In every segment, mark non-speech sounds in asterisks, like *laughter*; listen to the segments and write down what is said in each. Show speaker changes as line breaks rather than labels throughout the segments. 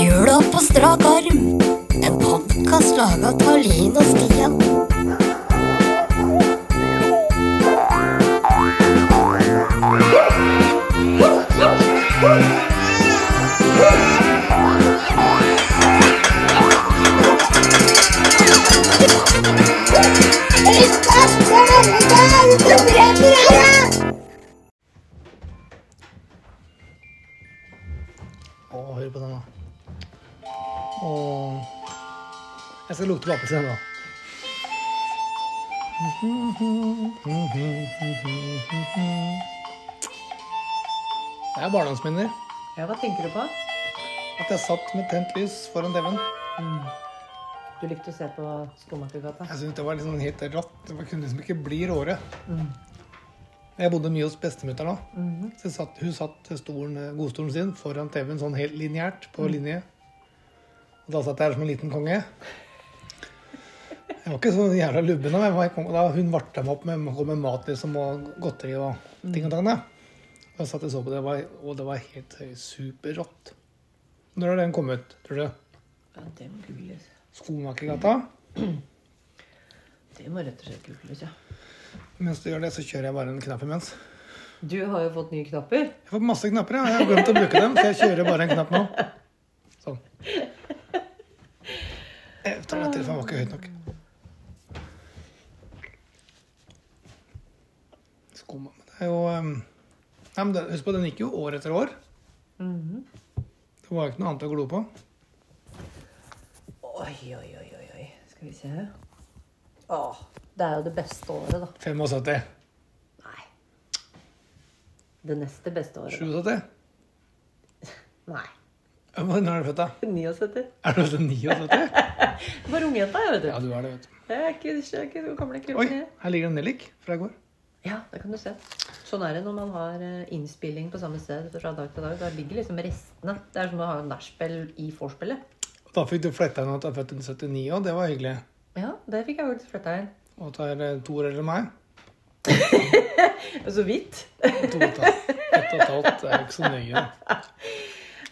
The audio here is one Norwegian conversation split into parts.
Jula på strak arm. En podkast laga av Linn og Stian.
Å, hør på den, da. Og Jeg skal lukte på appelsin, da. Det er barndomsminner.
Ja, hva tenker du på?
At jeg satt med tent lys foran TV-en.
Mm. Du likte å se på Skomakergata?
Jeg syntes det var liksom helt rått. Det var- kunne liksom ikke bli råere. Jeg bodde mye hos bestemutteren òg. Så jeg satt, hun satt stolen, godstolen sin foran TV-en sånn helt lineært på linje. Og da satt jeg her som en liten konge. Jeg var ikke så jævla lubben, av meg, men jeg kom, da hun varta meg opp med, kom med mat liksom, og godteri og ting og tang. da. Og jeg satt og så på det, og det var- og det var helt eh, superrått. Når har den kommet, tror du?
Ja, det må googles.
Skomakergata?
Det må rett og slett googles, ja.
Mens du gjør det, så kjører jeg bare en knapp imens.
Du har jo fått nye knapper.
Jeg får masse knapper, jeg. Jeg har glemt å bruke dem, så jeg kjører bare en knapp nå. Sånn. Eh, Jeg tar meg telefonen var ikke høyt nok. Skumma. men Det er jo um... Nei, men det, Husk på, den gikk jo år etter år. Mhm. Det var jo ikke noe annet å glo på.
Oi, oi, oi, oi, oi. Skal vi se her. Åh, det er jo det beste året, da.
75.
Nei. Det neste beste året.
77.
da. Nei.
Ja, men Når er du født, da?
79.
Er du født i 79?
Bare ungjenta, jeg, vet
Ja,
du.
du er det, vet du.
Jeg er ikke, jeg er ikke så gammel jeg
Oi,
krøller.
her ligger en nellik fra i går.
Ja, det kan du se. Sånn er det når man har eh, innspilling på samme sted fra dag til dag. Da ligger liksom restene. Det er som å ha nachspiel i vorspielet.
Da fikk du fletta inn at du er født i 79 òg, det var hyggelig.
Ja, det fikk jeg faktisk flytta inn.
Og at det er to år eldre enn meg.
Så vidt. *laughs*
To og et halvt. Ett og et halvt er ikke så nøye. da.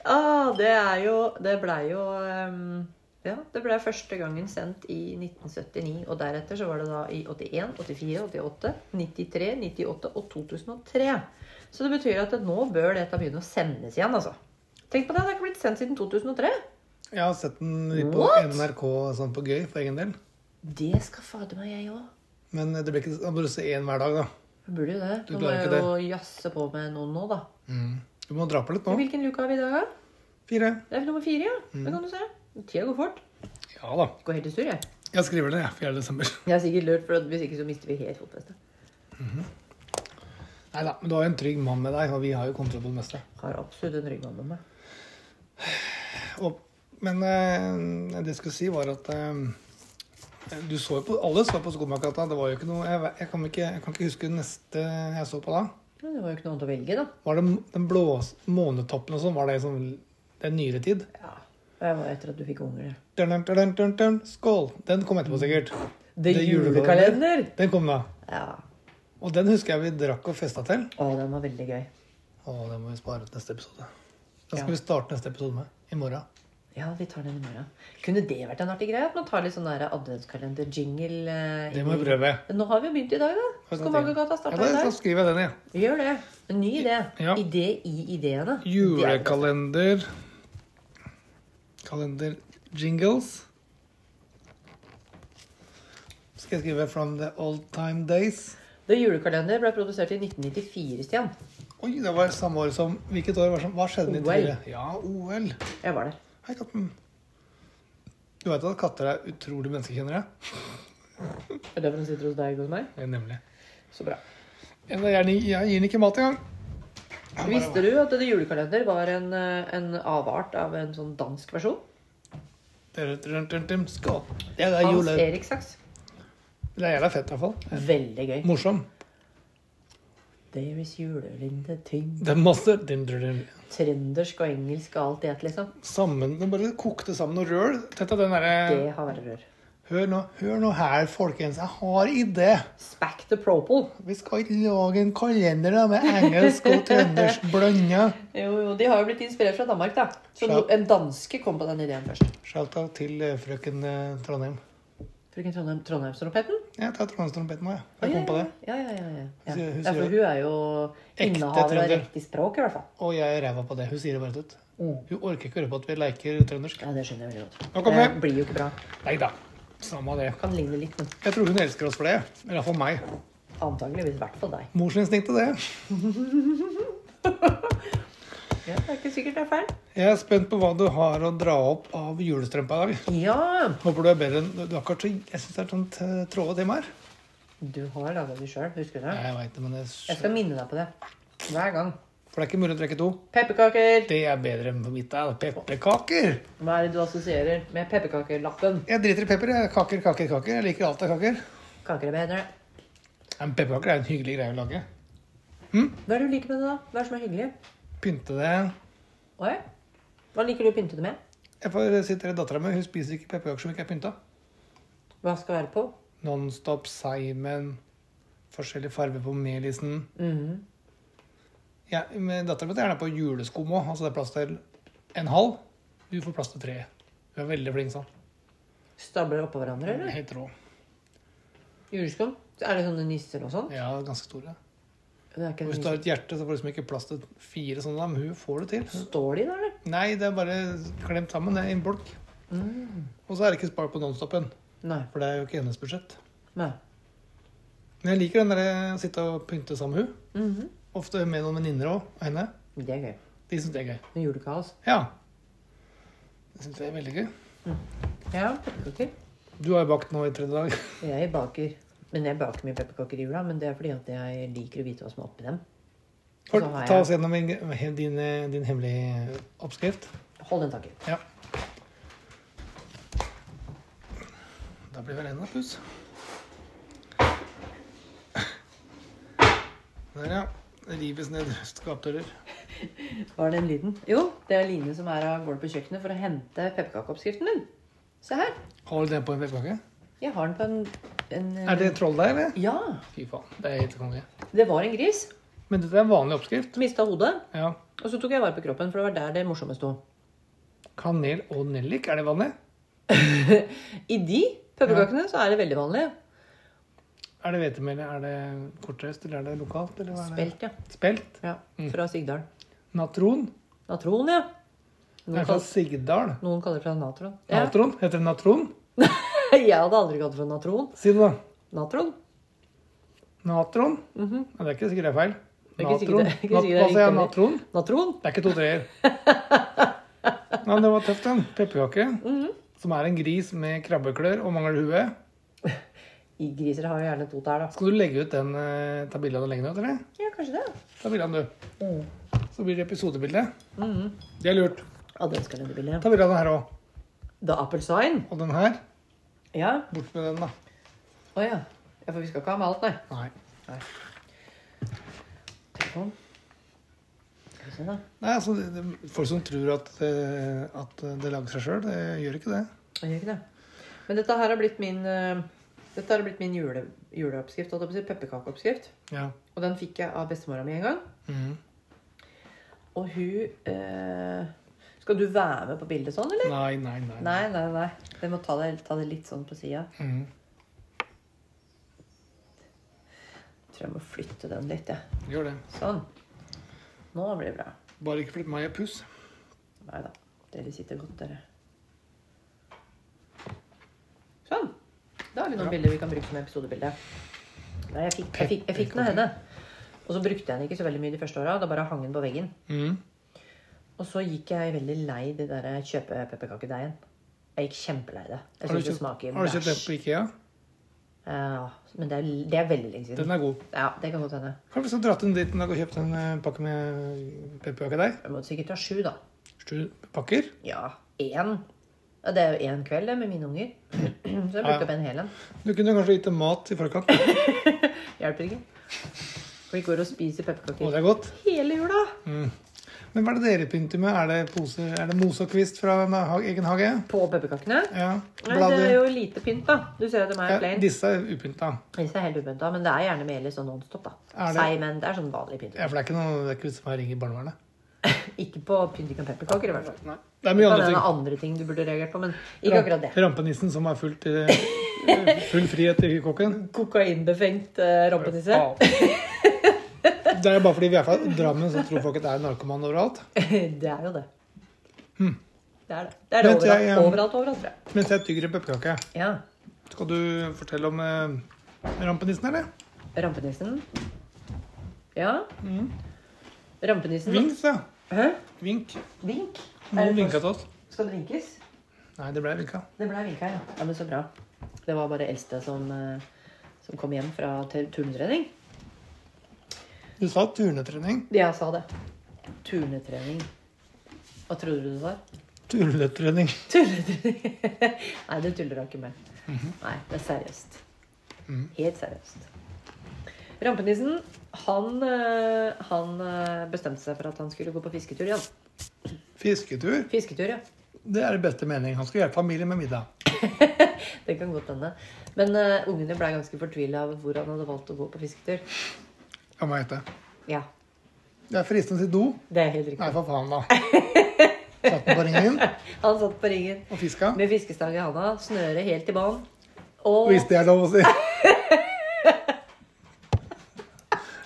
Ah, det er jo Det blei jo ehm, Ja, det blei første gangen sendt i 1979. Og deretter så var det da i 81, 84, 88, 93, 98 og 2003. Så det betyr at nå bør dette begynne å sendes igjen, altså. Tenk på det, det har ikke blitt sendt siden 2003.
Jeg har sett den litt på
What?
NRK sånn på gøy for egen del.
Det skal fader meg jeg òg.
Men det blir ikke da må du se én hver dag, da.
Jeg Burde jo det.
Du
Nå må
klarer
jeg
ikke
jo jazze på med noen nå, da.
Du må dra på litt nå. Mm.
Hvilken luke har vi i dag, da?
Fire.
Det er nummer fire, ja. Det kan du se. Tida går fort.
Ja da.
Går helt i surr, jeg.
Jeg skriver det, jeg. 4. desember.
Jeg er sikkert lurt, for at hvis ikke så mister vi helt fotfestet.
Nei da, men du har jo en trygg mann med deg, og vi har jo kontroll på det meste.
Har absolutt en ryggmann med meg.
Og, men eh, det jeg skulle si, var at eh, du så jo på Alle så på Skomakergata. Det var jo ikke noe jeg, ve- jeg, kan ikke, jeg kan ikke huske det neste jeg så på da.
Men det var jo ikke noe annet å velge, da.
Var det m- den blå månetoppen og sånn? Var det sånn Det er nyere tid?
Ja. Det var etter at du fikk unger, det.
Dun, dun, dun, dun, dun. Skål! Den kom etterpå, sikkert.
Det
er
julekalender!
Den kom da.
Ja.
Og den husker jeg vi drakk og festa til.
Å, den var veldig gøy.
Å, den må vi spare til neste episode. Den skal
Ja.
vi starte neste episode med. I morgen.
Ja, vi tar den i morgen. Kunne det vært en artig greie? At man tar litt sånn der adventskalender-jingle eh,
Det må
inn
vi
i-
prøve.
Nå har vi jo begynt i dag, da. Skomakergata starta
ja,
i
da,
dag.
Så skriver jeg den, jeg.
Vi gjør det. En ny idé.
Ja.
Idé i ideene.
Julekalender. Kalender jingles. Skal jeg skrive 'From the old time days'?
The julekalender ble produsert i 1994, Stian.
Oi, det var samme år som Hvilket år var det som Hva skjedde i
OL.
94? Ja, OL.
Jeg var der.
Hei, katten. Du veit at katter er utrolig menneskekjennere?
Er det derfor den sitter hos deg og hos meg?
Ja, nemlig.
Så bra.
Jeg jeg gir den ikke mat engang.
Visste du at The julekalender var en, eh, en avart av en sånn dansk versjon?
Skål. Det er
Hans
jule...
Erik Sachs.
Det er jævla fett, i hvert fall.
Veldig gøy.
Morsom.
There is julelinde ting.
Det er masse dun, dun, dun.
Trøndersk og engelsk og alt det, liksom.
Sammen, Det bare kokte sammen noe røl. Tenk deg den derre
Det har vært rør.
Hør nå, hør nå her, folkens. Jeg har idé.
Spack the propol.
Vi skal ikke lage en kalender da, med engelsk og trøndersk blanda.
Jo, jo, de har jo blitt inspirert fra Danmark, da. Så
Ja.
no- en danske kom på den ideen først.
Shout-out til eh, frøken eh, Trondheim.
Frøken Trondheim, Trondheimstrompeten?
Jeg tar Trondheimstrompeten nå, jeg. Jeg kom på det.
Ja, ja, ja. ja. ja.
sier- hun
ja for
sier-
hun er jo
Ekte
innehaver av
trønder.
riktig språk, i hvert fall.
Og jeg er ræva på det. Hun sier det bare ut.
Mm.
Hun orker ikke høre på at vi leker trøndersk.
Ja, det skjønner jeg veldig godt.
Nå kommer
det
jeg.
blir jo ikke bra.
Nei da. Samme det.
Kan ligne litt, men
Jeg tror hun elsker oss for det. I hvert fall meg.
antakeligvis i hvert fall deg.
Morsinstinkt er det.
Ja, det er ikke sikkert det er feil.
Jeg er spent på hva du har å dra opp av julestrømpa i dag.
Ja!
Håper du er bedre enn Du har kanskje Jeg syns det er sånt eh, tråde tema her.
Du har laga det sjøl, husker du det?
Nei, jeg vet det, men det
Jeg skal minne deg på det. Hver gang.
For det er ikke mulig å trekke to.
Pepperkaker!
Det er bedre enn på mitt. Det er pepperkaker.
Hva er det du assosierer med pepperkakelappen?
Jeg driter i pepper. jeg. Kaker, kaker, kaker. Jeg liker alt av kaker.
Kaker er bedre.
Ja, Men pepperkaker er en hyggelig greie å lage.
Hva er det du liker med det, da? Hva er det som er hyggelig?
Pynte det.
Oi. Hva liker du å pynte det med?
Jeg får sitte med dattera mi. Hun spiser ikke pepperkaker som ikke er pynta.
Hva skal være på?
Nonstop, Simon, forskjellig farge på melisen.
Mhm.
Ja, men Dattera mi er gjerne på juleskum òg. Altså det er plass til en halv. Hun får plass til tre. Hun er veldig flink sånn.
Stabler oppå hverandre, eller?
Helt rå.
Juleskum? Er det sånne nisser og sånn?
Ja, ganske store.
Det er ikke
Hvis
en
du har
nisse.
et hjerte, så får du liksom ikke plass til fire sånne, men hun får det til.
Står de der, eller?
Nei, det er bare klemt sammen, det er en bolk.
Mm.
Og så er det ikke spart på Nonstop-en,
Nei.
for det er jo ikke hennes budsjett.
Nei.
Men jeg liker den der eh, å sitte og pynte sammen med hun.
Mhm.
Ofte med noen venninner òg, og henne.
Det er gøy.
De syns det er gøy.
Med julekaos.
Ja. Det syns jeg er veldig gøy.
Ja, pepperkaker.
Du har jo bakt nå i tredje *laughs* dag.
Jeg baker men jeg baker mye pepperkaker i jula, men det er fordi at jeg liker å vite hva som er oppi dem.
For,
Så har jeg-
ta oss gjennom en, din, eh, din hemmelige oppskrift.
Hold den taket.
Ja. Da blir vel en av puss. Der, ja. Det Rives ned skapdører.
Var den lyden? Jo, det er Line som er av gårde på kjøkkenet for å hente pepperkakeoppskriften min. Se her.
Har du den på en pepperkake?
Jeg har den på en, en
Er det troll der, eller?
Ja.
Fy faen, det er helt konge.
Det var en gris.
Men dette er en vanlig oppskrift.
Mista hodet.
Ja.
Og så tok jeg vare på kroppen, for det var der det morsomme sto.
Kanel og nellik, er det vanlig?
I de pepperkakene så er det veldig vanlig.
Er det hvetemel, er det kortreist, eller er det lokalt? Eller hva er det?
Spelt, ja.
Spelt.
ja. Fra Sigdal.
Natron.
Natron, ja.
Det sånn?
Noen,
er fra
kall,
Sigdal.
noen kaller det fra natron. Ja.
Natron. Heter det natron?
*laughs* Jeg hadde aldri kalt det for natron.
Si det, da.
Natron?
Natron? Nei, Det er ikke sikkert det er feil.
Mhm. Det er ikke sikkert
Natron.
det- det er ikke
Nat-
sikkert det er
Hva sier jeg?
riktig.
Natron?
Natron?
Det er ikke to
*laughs*
treer. Nei, men det var tøft, den. Pepperkake.
Mhm.
Som er en gris med krabbeklør og mangler hue.
I griser har jo gjerne to tær, da.
Skal du legge ut den eh, ta bilde av den lenger ut, eller?
Ja, kanskje det.
Ta bilde av den, du.
Mm.
Så blir det episodebilde.
Mm-hmm.
Det er lurt.
Ja, det skal denne bildet.
Ta bilde av den her òg.
The Apple Sign.
Og den her.
Ja.
Bort med den, da.
Å ja. ja. For vi skal ikke ha med alt, nei.
Nei.
Telefon. Skal vi se, da.
Nei, altså, det, det, Folk som tror at, eh, at det lager seg sjøl, det gjør ikke det.
Jeg gjør ikke det. Men dette her har blitt min eh, Dette har blitt min jule, juleoppskrift, holdt jeg på å si. Pepperkakeoppskrift.
Ja.
Og den fikk jeg av bestemora mi en gang.
Mhm.
Og hun eh, Skal du være med på bildet sånn, eller?
Nei, nei, nei.
Nei, nei, nei. Vi må ta det, ta det litt sånn på sida.
Mhm.
Tror jeg må flytte den litt, jeg.
Gjør det.
Sånn. Nå blir det bra.
Bare ikke flytt meg i puss.
Nei da. Dere sitter godt, dere. Sånn. Da har vi noen bilder vi kan bruke som episodebilde. Nei, jeg fikk, jeg fikk, jeg fikk den av henne. Og så brukte jeg den ikke så veldig mye de første åra. Da bare hang den på veggen.
Mhm.
Og så gikk jeg veldig lei det der kjøpe pepperkakedeigen. Jeg gikk kjempelei det.
Har
Jeg
du
synes det
kjøpt,
smaker
har du kjøpt den
bæsj.
på Ikea?
Ja, men det er, det er veldig lenge siden.
Den er god.
Ja, det kan godt hende.
Kanskje vi skal dra til en dit en dag og kjøpe en eh, pakke med pepperkakedeig?
Jeg må sikkert ha sju, da.
Sju pakker?
Ja, én. Ja, Det er jo én kveld det, med mine unger. *clears throat* Så jeg
Ja, ja.
brukte opp en hel en.
Du kunne kanskje gitt dem mat i forkant? Å,
Hjelper ikke. Og vi går og spiser pepperkaker
det er godt.
hele jula.
Men hva er det dere pynter med? Er det, pose, er det mose og kvist fra ha- egen hage?
På pepperkakene?
Ja.
Nei, det er
Blader?
jo lite pynt, da. Du ser jo at de er
Ja,
plain.
disse er upynta.
Disse er helt upynta, men det er gjerne mer litt sånn nonstop, da.
Er det-
Seig, men det er sånn vanlig pynt.
Ja, for det er ikke noe det er ikke vits for meg å ringe barnevernet.
Ikke på pynting av pepperkaker, i hvert fall.
Det er
Det
mye
kan
andre
hende
ting.
andre ting du burde reagert på, men ikke akkurat det.
Rampenissen som har fullt, eh, *laughs* full frihet i kokken.
Kokainbefengt
eh,
uh, rampenisse.
Det er jo bare fordi vi er fra Drammen, så tror folk at det er narkoman overalt.
*laughs* det er jo det. Det er det. Det er det
Hm. Vet
overalt,
jeg, um,
overalt, overalt, tror jeg.
Mens jeg tygger en pepperkake.
Ja.
Skal du fortelle om eh, rampenissen, eller?
Rampenissen. Ja.
Hm.
Rampenissen
Vinks, ja.
Hæ?
Vink.
Vink? Er
Noen
det
vinka
først-
til oss.
Skal det vinkes?
Nei, det ble vinka.
Det ble vinka, ja. ja. Men så bra. Det var bare eldste som, eh, som kom hjem fra tur- turnetrening.
Du sa turnetrening.
Jeg sa det. Turnetrening. Hva trodde du du sa?
Turnetrening.
Tulletrening. Nei, det tuller jeg ikke med. Nei, det er seriøst. Helt seriøst. Rampenissen, han, eh, han eh, bestemte seg for at han skulle gå på fisketur igjen.
Fisketur.
Fisketur, ja.
Det er i beste mening. Han skal hjelpe familien med middag.
Det kan godt hende. Men eh, ungene ble ganske fortvila over hvor han hadde valgt å gå på fisketur.
Kan man hete.
Ja,
Det er fristende å si do.
det er helt riktig.
Nei, for faen,
*laughs*
da. Satt den på ringen
Han satt på ringen
og fiska.
med fiskestang i handa, snøret helt i banen. Og
Hvis det er lov å si.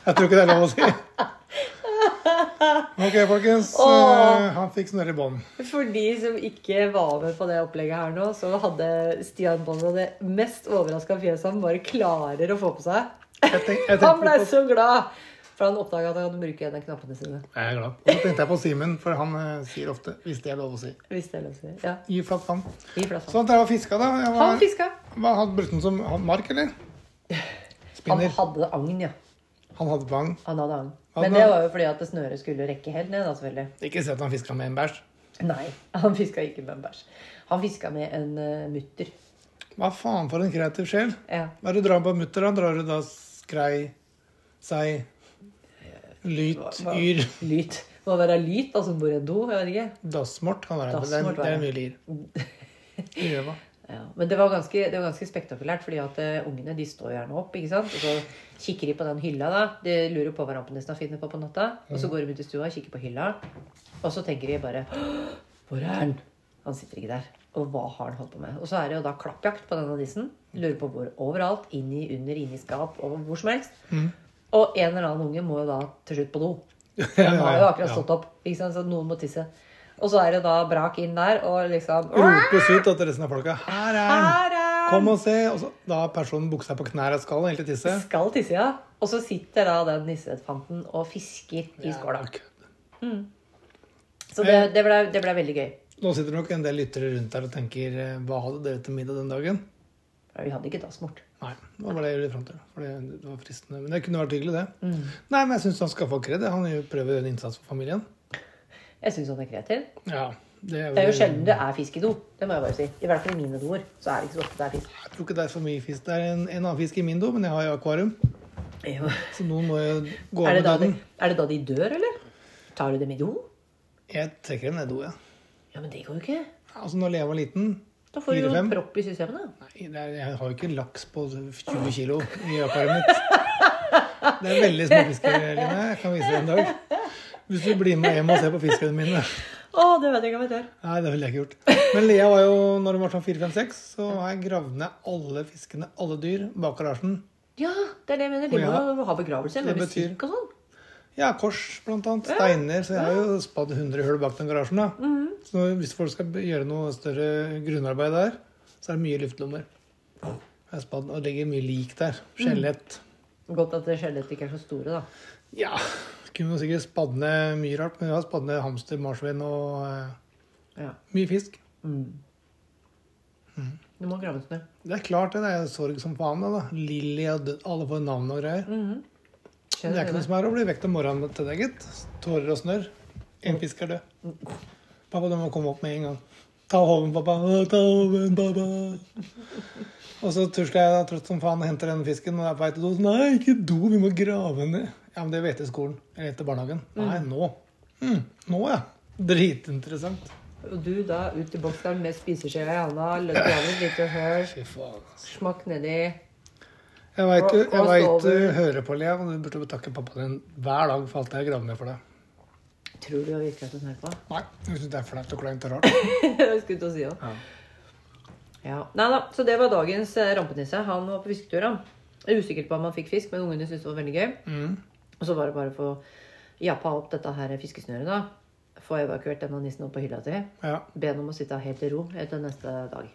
Jeg tror ikke det er lov å si. Ok, folkens.
Åh.
eh, Han fikk snørre i bånd.
For de som ikke var med på det opplegget her nå, så hadde Stian Bonde det mest overraska fjeset han bare klarer å få på seg.
Jeg, tenk, jeg,
Han ble
tenkte på-
så glad! For han oppdaga at han hadde brukt en av knappene sine.
jeg er glad. Og så tenkte jeg på Simen, for han eh, sier ofte 'hvis det er lov å si'.
Hvis det er lov å si. Ja,
Gi flatt vann.
i flatt vann.
Sånn at jeg var fiska, da. Jeg
Han
var,
fiska.
hva, hadde brukt den som mark, eller?
Han
Spinner.
hadde agn, ja.
Han hadde bang.
Han hadde agn.
Han
Men
hadde-
det var jo fordi at det snøret skulle rekke helt ned, da, selvfølgelig.
Ikke se at han fiska med en bæsj.
Nei, *laughs* han fiska ikke med en bæsj. Han fiska med en eh, mutter.
Hva faen for en kreativ sjel.
Ja.
Hva er det du drar på mutter, da? Drar du da skrei, sei, lyt,
Hva-
yr,
Lyt. Det må være lyt, altså Moredo. Jeg vet ikke.
dassmort? Kan være. men Det,
Dassmort
er, det er
var
mye
*laughs*
lir. I øva.
Ja, men det var ganske, det var ganske spektakulært, fordi at eh, ungene de står gjerne opp. ikke sant? Og så kikker de på den hylla. da. De lurer på hva rampenissen finner på på natta. Og så går de ut i stua og kikker på hylla. Og så tenker de bare «Åh, Hvor er han? Han sitter ikke der. Og hva har han holdt på med? Og så er det jo da klappjakt på denne nissen. Lurer på hvor overalt. Inni, under, inni skap og hvor som helst. Og en eller annen unge må jo da til slutt på do. Han har jo akkurat stått opp, ikke sant? så noen må tisse. Og så er det da brak inn der, og liksom
Ropes ut til resten av folka. Her er han!
Her er han!
Kom og se! Og så, da har personen buksa på knær og skal egentlig tisse.
Skal tisse, ja. Og så sitter da den nissefanten og fisker i skåla.
Ok.
Så det, det, ble, det ble veldig gøy.
Nå sitter det nok en del lyttere rundt der og tenker eh, Hva hadde dere til middag den dagen?
Vi hadde ikke dassmort.
Nei. Det var det jeg ville fram til. For det, det var fristende. Men det kunne vært hyggelig, det.
Mm.
Nei, men jeg syns han skal få kred. Han prøver en innsats for familien.
Jeg syns han er kreativ.
Ja, det er,
Det er jo sjelden det er fisk i do. Det må jeg bare si. I hvert fall i mine doer. Så er det ikke så ofte det er fisk.
Jeg tror ikke det er for mye fisk. Det er en, en annen fisk i min do, men jeg har jo akvarium. Så noen må jo gå av
Er det,
med
da de,
døden.
er det da de dør, eller? Tar du dem i do?
Jeg trekker dem ned i do, ja.
Ja, men det går jo ikke.
Altså, når jeg var liten
Da får du jo
Fire-fem.
propp i systemene.
Nei, det er, jeg har jo ikke laks på 20 kilo i akvariet mitt. Det er veldig små fisker, Line. Jeg kan vise deg en dag. Hvis du blir med hjem og ser på fiskene mine.
Å, det vet jeg ikke om jeg tør.
Nei, det ville jeg ikke gjort. Men Lea var jo, når hun var sånn 4-5-6, så har jeg gravd ned alle fiskene, alle dyr, bak garasjen.
Ja, det er det jeg mener. De
Å, ja.
må jo ha begravelse med
Det betyr-
musikk og sånn.
Ja, kors blant annet. Steiner. Så jeg har jo spadd 100 hull bak den garasjen. da. Så når- hvis folk skal gjøre noe større grunnarbeid der, så er det mye luftlommer. Jeg har spadd og legger mye lik der. Skjelett.
Godt at skjeletter ikke er så store, da.
Ja. Kunne jo sikkert spadd ned mye rart, men jeg har spadd ned hamster, marsvin og eh,
Ja.
mye fisk. Mm.
Du må graves ned.
Det er klart det. Det er sorg som faen. det da. Lilly og død- alle får navn og greier. Men Det er
Skjønner
ikke
du
noe
det?
som er å bli vekt om morgenen til deg, gitt. Tårer og snørr. En fisk er død. Pappa, du må komme opp med en gang. Ta hoven, pappa. Å, Ta hoven, pappa. Og så tusler jeg da, trøtt som faen og henter den fisken og er på vei til do. Nei, ikke do, vi må grave den ned. Ja, men det vet jeg i skolen. Eller etter barnehagen. Nei, nå. Hm, nå, ja. Dritinteressant.
Og du da ut i bokseren med spiseskjea i handa, løp gjennom et lite hull,
Fy faen. altså.
smakk nedi.
Jeg veit du, jeg
Cross
vet du
over.
hører på, Lea, og du burde takke pappaen din hver dag for alt jeg har gravd ned for deg.
Tror du virkelig at hun hører på?
Nei, jeg syns det er flaut og kleint og rart.
Jeg skulle til å si *laughs* det.
Ja.
Ja. Nei da, så det var dagens eh, rampenisse. Han var på fisketur, han. Jeg er usikker på om han fikk fisk, men ungene syntes det var veldig gøy.
Mm.
Og så var det bare å få jappa opp dette her fiskesnøret, da. Få evakuert denne nissen opp på hylla si.
Ja.
Be ham om å sitte helt i ro etter neste dag.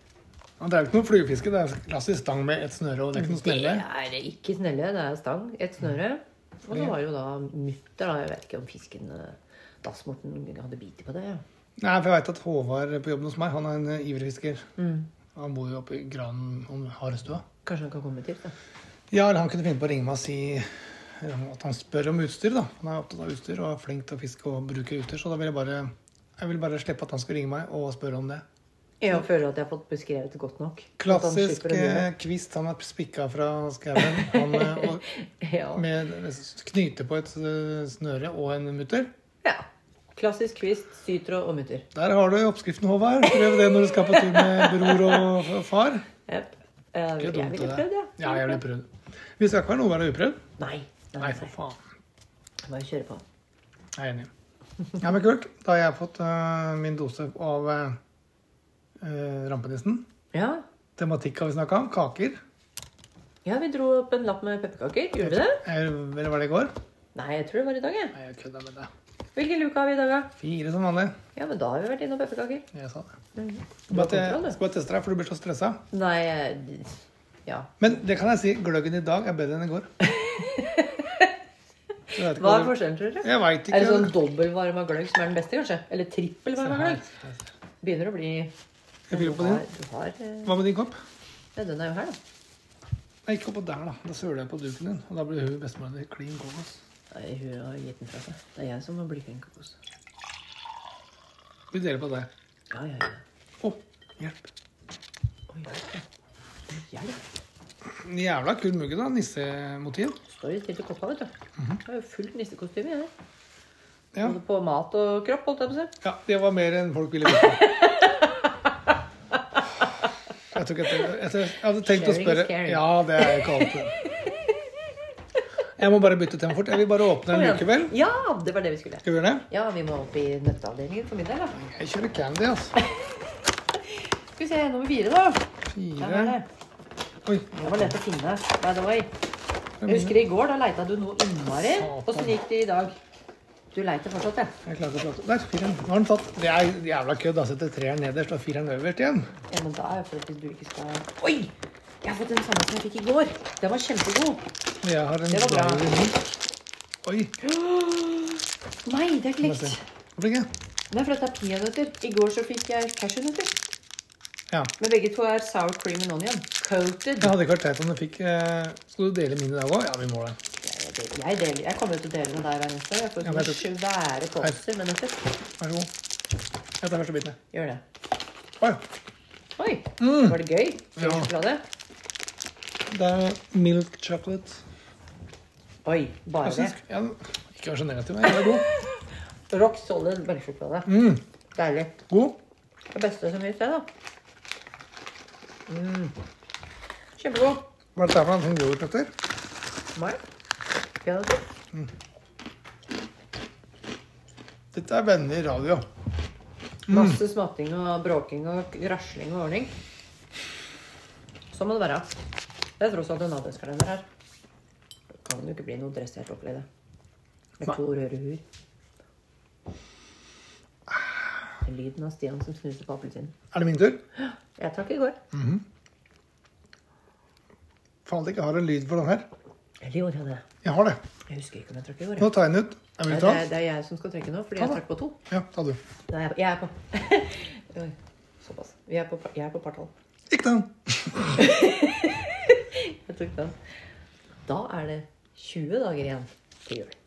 Men Det er jo ikke noe fluefiske. Det er altså klassisk stang med ett snøre og det er ikke noe snelle.
Det er ikke snelle, det er stang. Et snøre. Og så var det jo da mutter, da. Jeg vet ikke om fisken eh, Dassmorten hadde bit på det. Ja.
Nei, for jeg veit at Håvard på jobben hos meg, han er en eh, ivrig fisker.
Mm.
Han bor jo oppe i Granen om Harestua.
Kanskje han kan komme hit, da.
Ja, eller han kunne finne på å ringe meg og si eh, at han spør om utstyr, da. Han er opptatt av utstyr og er flink til å fiske og bruke utstyr, så da vil jeg bare jeg vil bare slippe at han skal ringe meg og spørre om det.
Jeg føler at jeg har fått beskrevet det godt nok. At han
Klassisk
slipper å lure.
eh, kvist. Han er spikka fra skauen. Han eh,
*laughs*
og
Ja.
med knyte på et eh, snøre og en mutter.
ja. Klassisk kvist, sytråd og mutter.
Der har du oppskriften, Håvard. Prøv det når du skal på tur med bror og far.
Yep. Eh,
Det er
jeg
dumt,
ville
det der.
prøvd, ja.
Ja, jeg ville prøvd. Vi skal ikke være noe å være uprøvd.
Nei. Nei,
Nei,
nei.
for faen.
Bare kjøre på.
Jeg er enig. Ja, men kult. Da har jeg fått øh, min dose av øh, øh, rampenissen.
Ja.
Tematikk har vi snakka om. Kaker.
ja, vi dro opp en lapp med pepperkaker. Gjorde vi det?
Eller eller var det i går?
Nei, jeg tror det var i dag. jeg.
Nei, jeg kødda med deg.
Hvilken luke har vi i dag, da?
Fire som vanlig.
Ja, men da har vi vært innom pepperkaker.
Jeg sa det.
Mhm.
Skal
Du har
bare, te-
kontroll, du.
skal bare teste deg, for du blir så stressa.
Nei eh, Ja.
Men det kan jeg si. Gløggen i dag er bedre enn i
*laughs*
går. Jeg vet ikke
Hva er
hva det-
forskjellen, tror dere?
Jeg veit ikke.
Er det sånn dobbeltvarma gløgg som er den beste, kanskje? Eller trippelvarma gløgg? Begynner å bli
Jeg fyller på
Du har,
din.
du har eh,
Hva med din kopp?
ja, Den er jo her, da.
Nei, ikke oppå der, da. Da søler jeg på duken din. Og da blir hun bestemoren din klin kokos.
Nei, hun har gitt den fra seg. Det er jeg som må bli flink kokos.
Vi deler på det.
Ja, ja, ja.
Å, hjelp.
Oi, hjelp.
Jævla kul mugge, da. Nissemotiv.
Står jo til i koppa, vet du. Det er jo fullt nissekostyme i det.
Mhm. Ja.
Både på mat og kropp, holdt jeg på å si.
ja, det var mer enn folk ville vite. Jeg, tror ikke at jeg, jeg, jeg hadde tenkt å
Sharing is
spørre
caring.
Ja, det er ikke alltid. Jeg må bare bytte tema fort. Jeg vil bare åpne
Kom
en
igjen.
luke, vel.
Ja, det var det vi skulle.
Skal vi gjøre det?
Ja, vi må opp i nøtteavdelingen for min del, da.
Jeg kjører candy, altså.
Skal vi se, nummer fire, da. Der var
Fire
det.
Oi.
Det var lett å finne, by the way.
det er
Jeg
mine.
husker i går, da leita du noe innmari.
Satan.
Åssen gikk det i dag? Du leiter fortsatt, ja.
Jeg klarer ikke å prate. Der, fireren. Nå har den tatt. Det er jævla kødd. Da setter treeren nederst og fireren øverst igjen.
Ja, men da er jo for at hvis du ikke skal Oi! Jeg har fått den samme som jeg fikk i går. Den var kjempegod.
Jeg har en
Det var bra.
bra. Oi.
Nei, det er ikke
må jeg se.
likt.
Hvorfor ikke?
Nei, for dette er peanøtter. I går så fikk jeg cashewnøtter.
Ja.
Men begge to er sour cream and onion. Coated.
Jeg hadde ikke vært teit om du fikk eh, Skal du dele mine i dag òg? Ja, vi må det.
Jeg, deler- jeg, deler, jeg kommer jo til å dele med deg hver eneste. Jeg får
Ja, men jeg
sånne svære poser med nøtter.
Vær så god. Jeg tar første biten. jeg.
Gjør det.
Oi,
Oi,
Mm.
var det gøy? Gøy
Ja.
sjokolade?
det er milk chocolate.
Oi, bare
Jeg
det.
synes, ja, ikke vær så negativ. men Den er god.
Rock solid melkesjokolade.
Mm,
Deilig.
god.
Det beste som finnes, det, da. Mm. Kjempegod.
Hva er dette for noe Sånn som gror, Petter?
Meg? Peanøtter?
Dette er venner i radio. Mm.
Masse smatting og bråking og rasling og ordning. Sånn må det være. Det er tross alt en adventskalender her. Det kan jo ikke bli noe dressert opp i det. Med
Nei.
to røde huer. Det er Lyden av Stian som snuser på appelsinen.
Er det min tur?
Jeg trakk i går.
Mm. Faen at jeg ikke har en lyd for den her.
Eller gjorde jeg det?
Jeg har det.
Jeg husker ikke om jeg trakk i går.
Nå
jeg.
tar jeg den ut. Er
Nei,
vil du
Det
ta
er,
den?
det er jeg som skal trekke nå, fordi
Ta
jeg
det.
trakk på to.
Ja, ta du.
Nei, jeg er på. *laughs* Jeg er på. Oi, Såpass. Vi er på, jeg er på partall.
Ikke ta den.
Jeg tok den. Da er det 20 dager igjen til jul.